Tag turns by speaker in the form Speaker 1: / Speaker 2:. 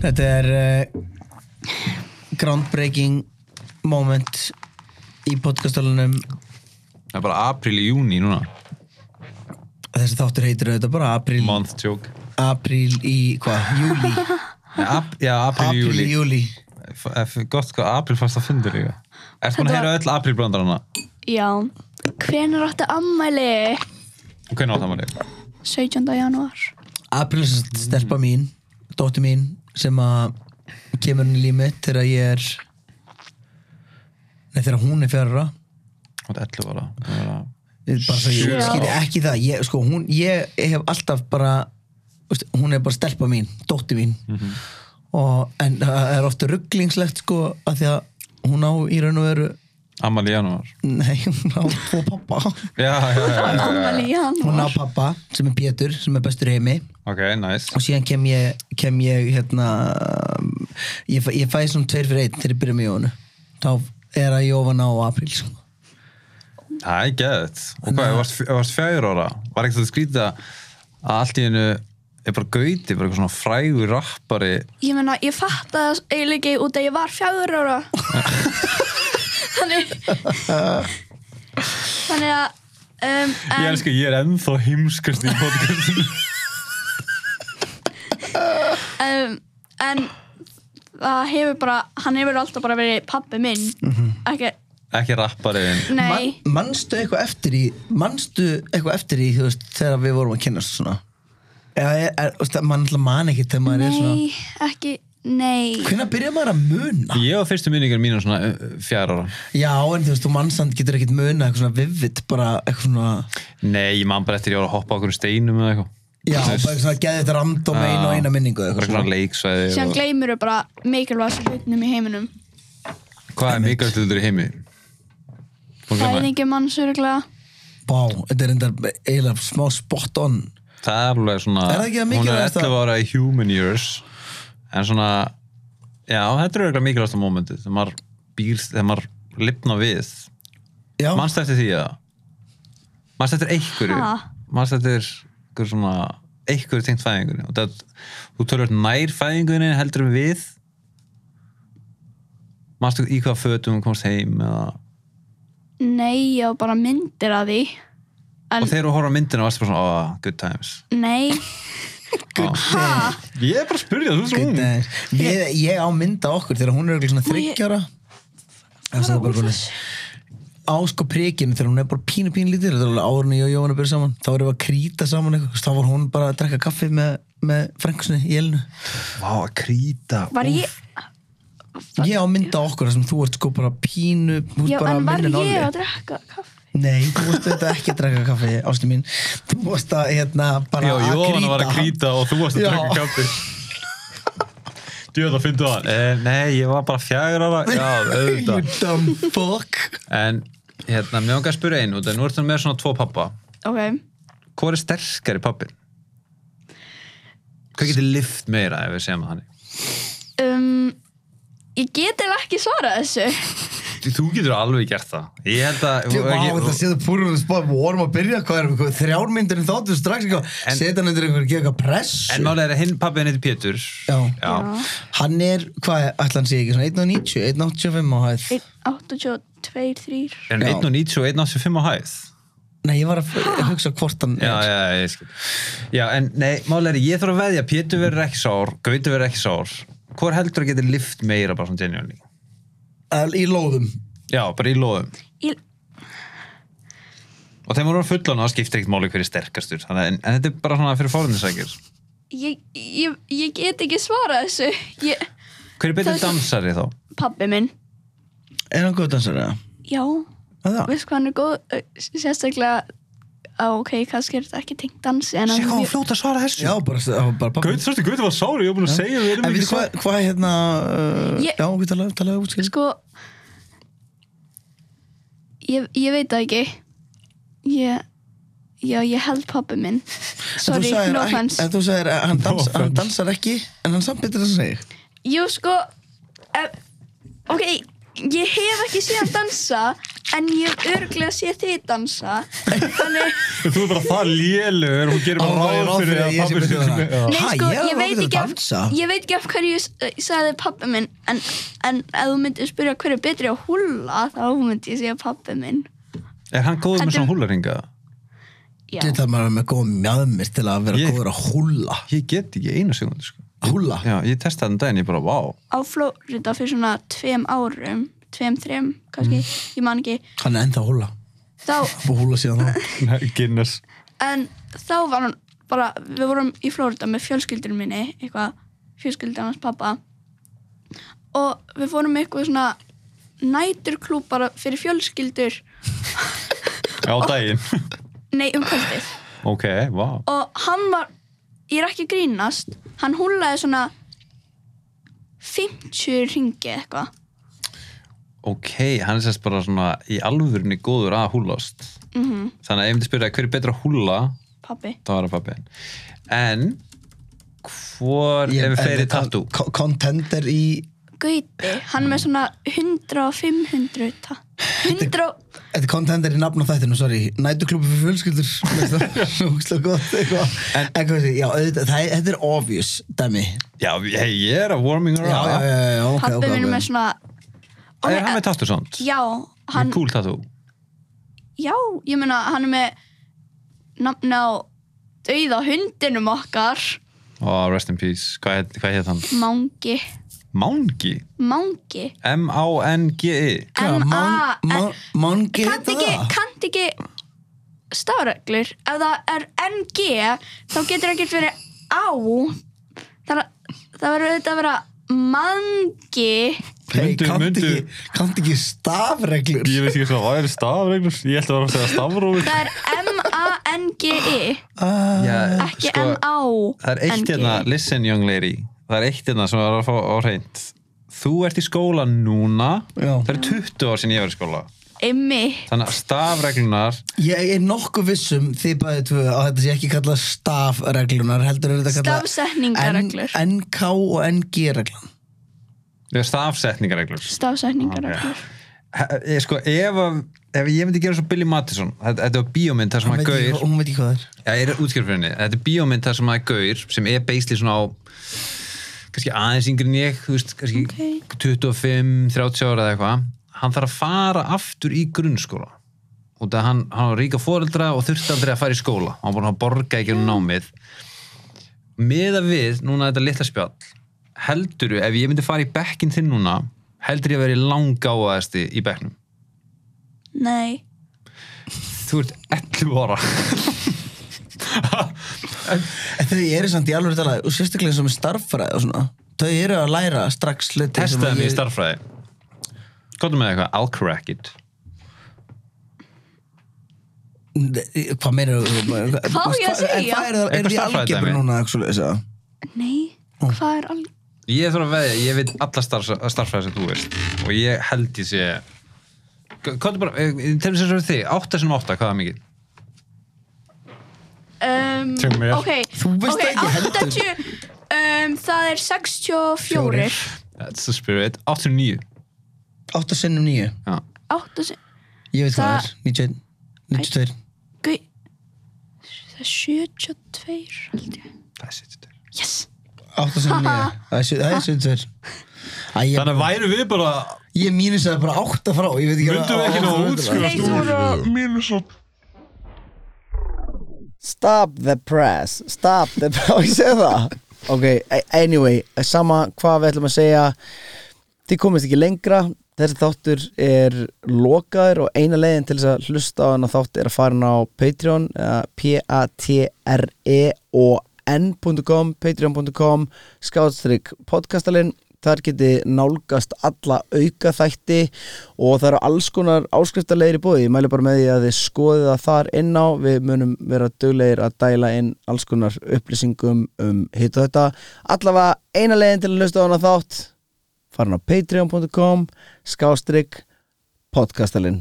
Speaker 1: Þetta er uh, groundbreaking moment í podcastalunum
Speaker 2: Það er bara april í júni núna
Speaker 1: Þessi þáttur heitir auðvitað bara apríl,
Speaker 2: Month joke
Speaker 1: apríl í, hvað, júli
Speaker 2: Nei, ap, Já, april
Speaker 1: Apríl
Speaker 2: í
Speaker 1: í
Speaker 2: júli
Speaker 1: júli
Speaker 2: F- f- Gott hvað april fannst að fundur líka Ertu búin að
Speaker 3: Þetta
Speaker 2: heyra öll april brandarana?
Speaker 3: Já. Hvenær áttu ammæli?
Speaker 2: Hvernig átt það maður þig?
Speaker 3: 17. janúar.
Speaker 1: Apríl er sem sagt stelpa mín, dóttir mín sem að kemur inn í líf mitt þegar ég er Nei, þegar hún er fjara
Speaker 2: Átt 11 ára Þú er að-
Speaker 1: bara svo ég
Speaker 3: Sjö ár.
Speaker 1: skýri ekki það ég, sko, hún, ég hef alltaf bara veist, hún er bara stelpa mín, dótti mín
Speaker 3: Mhm.
Speaker 1: og, en það er ofta rugglingslegt sko að því að hún á í raun og veru
Speaker 2: Amal í janúar
Speaker 1: nei, hún á tvo pappa
Speaker 2: Já, já, já, já, já, já.
Speaker 3: Ammæli í
Speaker 1: hún á
Speaker 3: janúar.
Speaker 1: pappa sem er Pétur, sem er bestur í heimi
Speaker 2: Ok, nice
Speaker 1: og síðan kem ég, kem ég hérna um, ég, fæ- ég fæði svona tveir fyrir einn þegar ég byrja með jónu þá er að jófana á apríl sko.
Speaker 2: Það er geðið Og hvað, ef varst, ef varst fjör ára Var ekkert að skrýta að allt í hennu er bara gauti, bara eitthvað svona frægur rappari
Speaker 3: Ég meina, ég fatt að það eiginlega ekki út að ég var fjögur ára. þannig, þannig að, um,
Speaker 2: Ég
Speaker 3: en,
Speaker 2: elska, ég er ennþá heimskast í podcastinu
Speaker 3: um, en það hefur bara, hann hefur alltaf bara verið pabbi minn.
Speaker 1: Mhm.
Speaker 3: Ekki,
Speaker 2: Ekki rappariðin
Speaker 3: nei,
Speaker 1: Man, manstu eitthvað eftir í manstu eitthvað eftir í þú veist þegar við vorum að kynast svona eða er, er, þú veist, mann alltaf man ekki þegar maður er svona
Speaker 3: nei, ekki, nei.
Speaker 1: hvenær byrjar maður að muna
Speaker 2: Ég á fyrstu minningar mínu svona uh, fjár ára
Speaker 1: já en þú veist þú mannsand getur ekkit muna eitthvað svona vivid bara eitthvað svona
Speaker 2: Nei, ég man bara eftir ég var að hoppa á okkur steinum eða eitthvað
Speaker 1: já
Speaker 2: Þú
Speaker 1: bara
Speaker 2: veist,
Speaker 1: eitthvað svona geði þetta random einu og eina minningu
Speaker 2: bara
Speaker 1: eitthvað
Speaker 2: eitthvað
Speaker 1: svona
Speaker 2: svona leiksvæði
Speaker 3: Sér
Speaker 2: og-
Speaker 3: hann gleymur bara mikilvægast hlutnum í heiminum.
Speaker 2: Hvað er mikilvægt hlutur í heimi? Búin að gleyma því?
Speaker 3: Fæðingi manns öruglega.
Speaker 1: bá þetta er enda eiginlega smá spot on
Speaker 2: Það er alveg svona
Speaker 1: Er það ekki það
Speaker 2: Hún er
Speaker 1: mikilvægasta?
Speaker 2: 11 ára í human years En svona Já, þetta er eitthvað mikilvægasta momentið Þegar maður býr, þegar maður lifna við
Speaker 1: já
Speaker 2: Manst eftir því að Manst eftir einhverju
Speaker 3: Ha?
Speaker 2: Manst eftir einhverju svona einhverju tengt fæðingunni og það, þú tölur nær fæðingunni heldur en við manstu í hvað fötum þú komst heim eða
Speaker 3: Nei, ég á bara myndir af því. En-
Speaker 2: og þegar þú horfður á myndina varstu bara svona, oh, good times
Speaker 3: Nei,
Speaker 1: Nei,
Speaker 2: ég er bara að spyrja, þú
Speaker 1: good days.
Speaker 3: Mm.
Speaker 1: ég, ég á mynda okkur þegar hún er örugglega svona þryggjara það er svona bara svona á sko prikinu þegar hún er bara pínu pínu lítil þetta er alveg árunni ég og Jóhanna byrja saman þá erum við að krýta saman eitthvað þú veist, þá var hún bara að drekka kaffi með, með frengsinni í elinu
Speaker 2: Vá, að krýta
Speaker 3: var ég,
Speaker 1: ég á mynda okkur þar sem þú ert sko bara pínu þú ert
Speaker 3: já,
Speaker 1: bara
Speaker 3: en var
Speaker 1: minni en
Speaker 3: ég
Speaker 1: Olli.
Speaker 3: að drekka kaffi?
Speaker 1: nei, þú ert þetta ekki að drekka kaffi ástu mín, þú ert að hérna bara
Speaker 2: Já, Jóhanna var að krýta og þú varst að
Speaker 1: Já.
Speaker 2: drakka kaffi Djöð að fyndu hann eh, Nei, ég var bara fjagur ára Já,
Speaker 1: you
Speaker 2: auðvitað
Speaker 1: dumb fuck
Speaker 2: En, hérna, mér vangar að spyrja einu Nú ertu með svona tvo pappa
Speaker 3: Ok,
Speaker 2: Hvor er sterkari pappin? Hvað getur lift meira ef við segjum það þannig?
Speaker 3: um, ég get eða ekki svarað þessu.
Speaker 2: Þú getur alveg gert það Ég held að
Speaker 1: Vá, þetta séðu púrunum spáð, við vorum að byrja hvað erum við, þrjármyndurinn þáttu strax eitthvað,
Speaker 2: En-
Speaker 1: setja hann undir einhver, gefa eitthvað pressu
Speaker 2: En málega er að hinn pappin heitir Pétur
Speaker 1: Já.
Speaker 2: Já.
Speaker 1: Hann er, hvað, ætla hann sé ekki, svona 1.90, 1.85 á hæð
Speaker 3: 82, 3.
Speaker 2: En
Speaker 1: Já.
Speaker 2: 1.90 og 1.85 á hæð
Speaker 1: Nei, ég var að f- hugsa hvort hann
Speaker 2: já,
Speaker 1: er
Speaker 2: já, já, ég skil já, en nei, málega er ég þarf að veðja Pétur verður ekki sár, Gauti verður ekki sár hvor heldur að geti lift meira bara svona genuinely
Speaker 1: Al- Í lóðum
Speaker 2: já, bara í loðum
Speaker 3: Ég,
Speaker 2: og þegar maður er fullan það skiptir ekkert máli hverju sterkastur þannig, að- en, en þetta er bara svona fyrir fórhundinsækir
Speaker 3: ég, ég, ég get ekki svarað þessu. Ég,
Speaker 2: hver er betur
Speaker 3: Það er-
Speaker 2: dansari þá?
Speaker 3: pabbi minn,
Speaker 1: Er hann góð dansar eða?
Speaker 3: já,
Speaker 1: Er Það
Speaker 3: veist hvað hann er góð, uh, sérstaklega, á, ok, kannski er þetta ekki tengt dansi, en hann
Speaker 2: sé
Speaker 3: er
Speaker 2: hvað hún
Speaker 3: mjög-
Speaker 2: fljóta að svara þessu
Speaker 1: Já, bara, það var bara pappi
Speaker 2: þarstu Gauti var sár, ég er búin að segja um við
Speaker 1: En við hvað, hvað hérna uh,
Speaker 3: Ég-
Speaker 1: Já, við talaðu, talaðu út skil
Speaker 3: sko, ég, ég veit það ekki, ég, já, ég held pabbi minn,
Speaker 1: En þú
Speaker 3: sorry,
Speaker 1: sagðir
Speaker 3: no
Speaker 1: ekki-
Speaker 3: offense.
Speaker 1: En þú sagðir að hann, dans,
Speaker 2: offense.
Speaker 1: hann dansar ekki En hann samt betur þess að segja
Speaker 3: Jú, sko eh, Ok, ég hef ekki séð hann dansa en ég hef örglega séð þið dansa þannig,
Speaker 2: Þú er bara það lélugur, hún gerir bara ráð fyrir
Speaker 1: ég
Speaker 2: að
Speaker 1: sé
Speaker 2: pappir
Speaker 1: betur
Speaker 2: sinni.
Speaker 1: það.
Speaker 3: nei
Speaker 1: Ha,
Speaker 3: sko,
Speaker 1: ég
Speaker 3: ég,
Speaker 1: hef
Speaker 3: veit
Speaker 1: aldrei
Speaker 3: ekki af,
Speaker 1: dansa.
Speaker 3: ég veit ekki af hverju ég s- ég sagði pappi minn en, en ef þú myndir spyrja hverju er betri að húlla þá myndi ég segja pappi minn
Speaker 2: Er hann góður með
Speaker 3: Heldur-
Speaker 2: svona húlaringa?
Speaker 3: já,
Speaker 1: Þetta er maður með góð mjöðmir til að vera
Speaker 2: Ég-
Speaker 1: góður að húlla.
Speaker 2: Ég get ekki einu segundu, sko.
Speaker 1: Húlla?
Speaker 2: Já, ég testaði þann daginn, ég bara, vá.
Speaker 3: á Flórida fyrir svona tveim árum tveim, þreim, kannski, ég man ekki
Speaker 1: Hann er ennþá að húlla.
Speaker 3: þá,
Speaker 1: Búið að húlla síðan þá.
Speaker 2: Guinness.
Speaker 3: en þá var hann bara, við vorum í Flórida með fjölskyldunum minni, eitthvað fjölskyldan hans pappa og við fórum í eitthvað svona næturklúb bara fyrir fjölskyldur
Speaker 2: Á daginn.
Speaker 3: nei um kvöldið
Speaker 2: ok, vá.
Speaker 3: og hann var, ég er ekki að grínast hann húlaði svona 50 ringi eitthvað
Speaker 2: Ok, hann er sérst bara svona í alvörinni góður að húlast. -hmm. Þannig að ef þið spyrja hver er betra að húla,
Speaker 3: pappi,
Speaker 2: þá er það pappiðin. En, hvor
Speaker 1: Ég-
Speaker 2: ef við
Speaker 1: en-
Speaker 2: ferið
Speaker 1: en-
Speaker 2: tattoo?
Speaker 1: ko- Contender í...
Speaker 3: gauti hann er með svona 100-500 ta- 100 og-
Speaker 1: Þetta er contender í nafn á þættinu, sorry. Nætuklubu fyrir fjölskyldur. veist það? Ógeðslega gott, eitthvað. En hvað sé, já, auðvitað, það er- þetta er obvious, dæmi.
Speaker 2: Já, hey, ég er að warming her
Speaker 1: Já, já,
Speaker 2: up.
Speaker 1: já, já, já, ok,
Speaker 3: pappi
Speaker 1: ok,
Speaker 3: okay, minn er
Speaker 1: ok.
Speaker 3: með svona
Speaker 2: Er
Speaker 3: Ok,
Speaker 2: hann með tattoo samt?
Speaker 3: já, hann,
Speaker 2: Með cool tattoo?
Speaker 3: já, ég meina hann er með nafn á dauða hundinum okkar
Speaker 2: Oh, rest in peace. Hvað heit, hvað heit hann?
Speaker 3: Mangi,
Speaker 2: Mángi?
Speaker 3: Mangi
Speaker 2: M-A-N-G-I?
Speaker 1: Hvað,
Speaker 3: M-A
Speaker 1: man- man- Mangi
Speaker 3: Kannt
Speaker 1: heita
Speaker 3: ekki,
Speaker 1: það?
Speaker 3: kannt ekki stafreglur ef það er NG þá getur ekkert verið á það, það verður auðvitað að vera Mangi
Speaker 1: Hey,
Speaker 2: Mundu-
Speaker 1: kannt
Speaker 2: mundu-
Speaker 1: ekki- Kannt ekki stafreglur?
Speaker 2: Ég veit ekki svo, hvað er stafreglur? Ég ætla að vera að segja stafrófið.
Speaker 3: það er M-A-N-G-I
Speaker 1: Ah.
Speaker 3: E, ekki M-A-N-G
Speaker 1: E.
Speaker 2: sko, Það er eitt hérna, listen young lady Það er eitt hérna sem það er að fá á reynd Þú ert í skóla núna
Speaker 1: Já.
Speaker 2: Það er 20 ár sinni ég var í skóla
Speaker 3: Einmitt
Speaker 2: Þannig að stafreglunar
Speaker 1: Ég er nokkuð vissum þið bæði tvö að þetta sé ekki kallað stafreglunar heldur er þetta kallað
Speaker 3: Stafsetningarreglur.
Speaker 1: N- NK og NG reglan
Speaker 2: Eða stafsetningareglur
Speaker 3: stafsetningarreglur
Speaker 2: He- ég, sko, ef, að- ef ég myndi gera svo Billy Mattisson Þetta þetta var bíómynd þar sem að gaur
Speaker 1: Hún veit ekki hvað það er
Speaker 2: Já, ég er útskjörfyrinni. Þetta er bíómynd þar sem að gaur sem er basically svona á kannski aðeins yngri en ég, þú veist, kannski
Speaker 3: Ok.
Speaker 2: 25, 30 ára eða eitthvað. Hann þarf að fara aftur í grunnskóla. Út að hann, hann var ríka foreldra og þurfti aldrei að fara í skóla. Hann var búin að borga ekki um námið. Miða við, núna þetta litla spjall, heldur ef ég myndi fara í bekkinn þinn núna, heldur ég að vera í langáaðasti í bekknum.
Speaker 3: Nei,
Speaker 2: Þú ert 11 ára.
Speaker 1: En Þau eru samt í alveg talað og sérstaklega sem starffræði og svona Þau eru að læra strax hluti sem
Speaker 2: testaði
Speaker 1: að
Speaker 2: mig í
Speaker 1: ég-
Speaker 2: starffræði Kottum með eitthvað, I'll crack it
Speaker 1: Nei, Hvað meira
Speaker 3: Hvað á ég að segja?
Speaker 1: Hvað er það, er
Speaker 2: Eitthvað
Speaker 1: því
Speaker 2: stærðfræðidæmi?
Speaker 1: algebru núna actually, þess að-
Speaker 3: nei, hvað er alveg
Speaker 2: Ég þarf að veðja, ég veit alla starf, starffræði sem þú veist og ég held ég sé Kottum bara, eh, tegum sér svo þig 8 sem 8, hvað er mikið?
Speaker 3: um,
Speaker 2: Segðu mér.
Speaker 3: Ok,
Speaker 1: Þú veist
Speaker 3: ok,
Speaker 1: það ekki heldur.
Speaker 3: 80, um, það er 64
Speaker 1: Fjórir.
Speaker 2: That's the spirit, 8 sem 9
Speaker 1: Átta sinnum nýju
Speaker 2: Já,
Speaker 3: 8 sem,
Speaker 1: Ég veit hvað
Speaker 3: Það-
Speaker 1: það er 91, 92
Speaker 3: gau það er 72 held ég,
Speaker 2: það er sitt
Speaker 3: yes
Speaker 1: Átta sinnum nýju Það er sjö- það er 72 Æ, ég-
Speaker 2: Þannig að væru við bara
Speaker 1: Ég mínus það bara átta frá Ég veit ekki
Speaker 2: Myndum við ekki ná að útskýra?
Speaker 3: Nei, þú voru
Speaker 4: Stop the press Stop the press Og ég segi það Ok, a- anyway, sama hvað við ætlum að segja Þið komist ekki lengra Þessi þáttur er lokaður og eina leiðin til þess að hlusta á hann að þátt er að fara hann á Patreon eða E p-a-t-r-e-o-n.com patreon.com skáðstrykk podcastalinn þar geti nálgast alla auka þætti og það eru alls konar áskriftarlegir í bóði, ég mæli bara með því að þið skoðið það þar inn á, við munum vera duglegir að dæla inn alls konar upplýsingum um hitt og þetta allavega eina leiðin til að hlusta á hana þátt farin á patreon.com skástrygg podcastalinn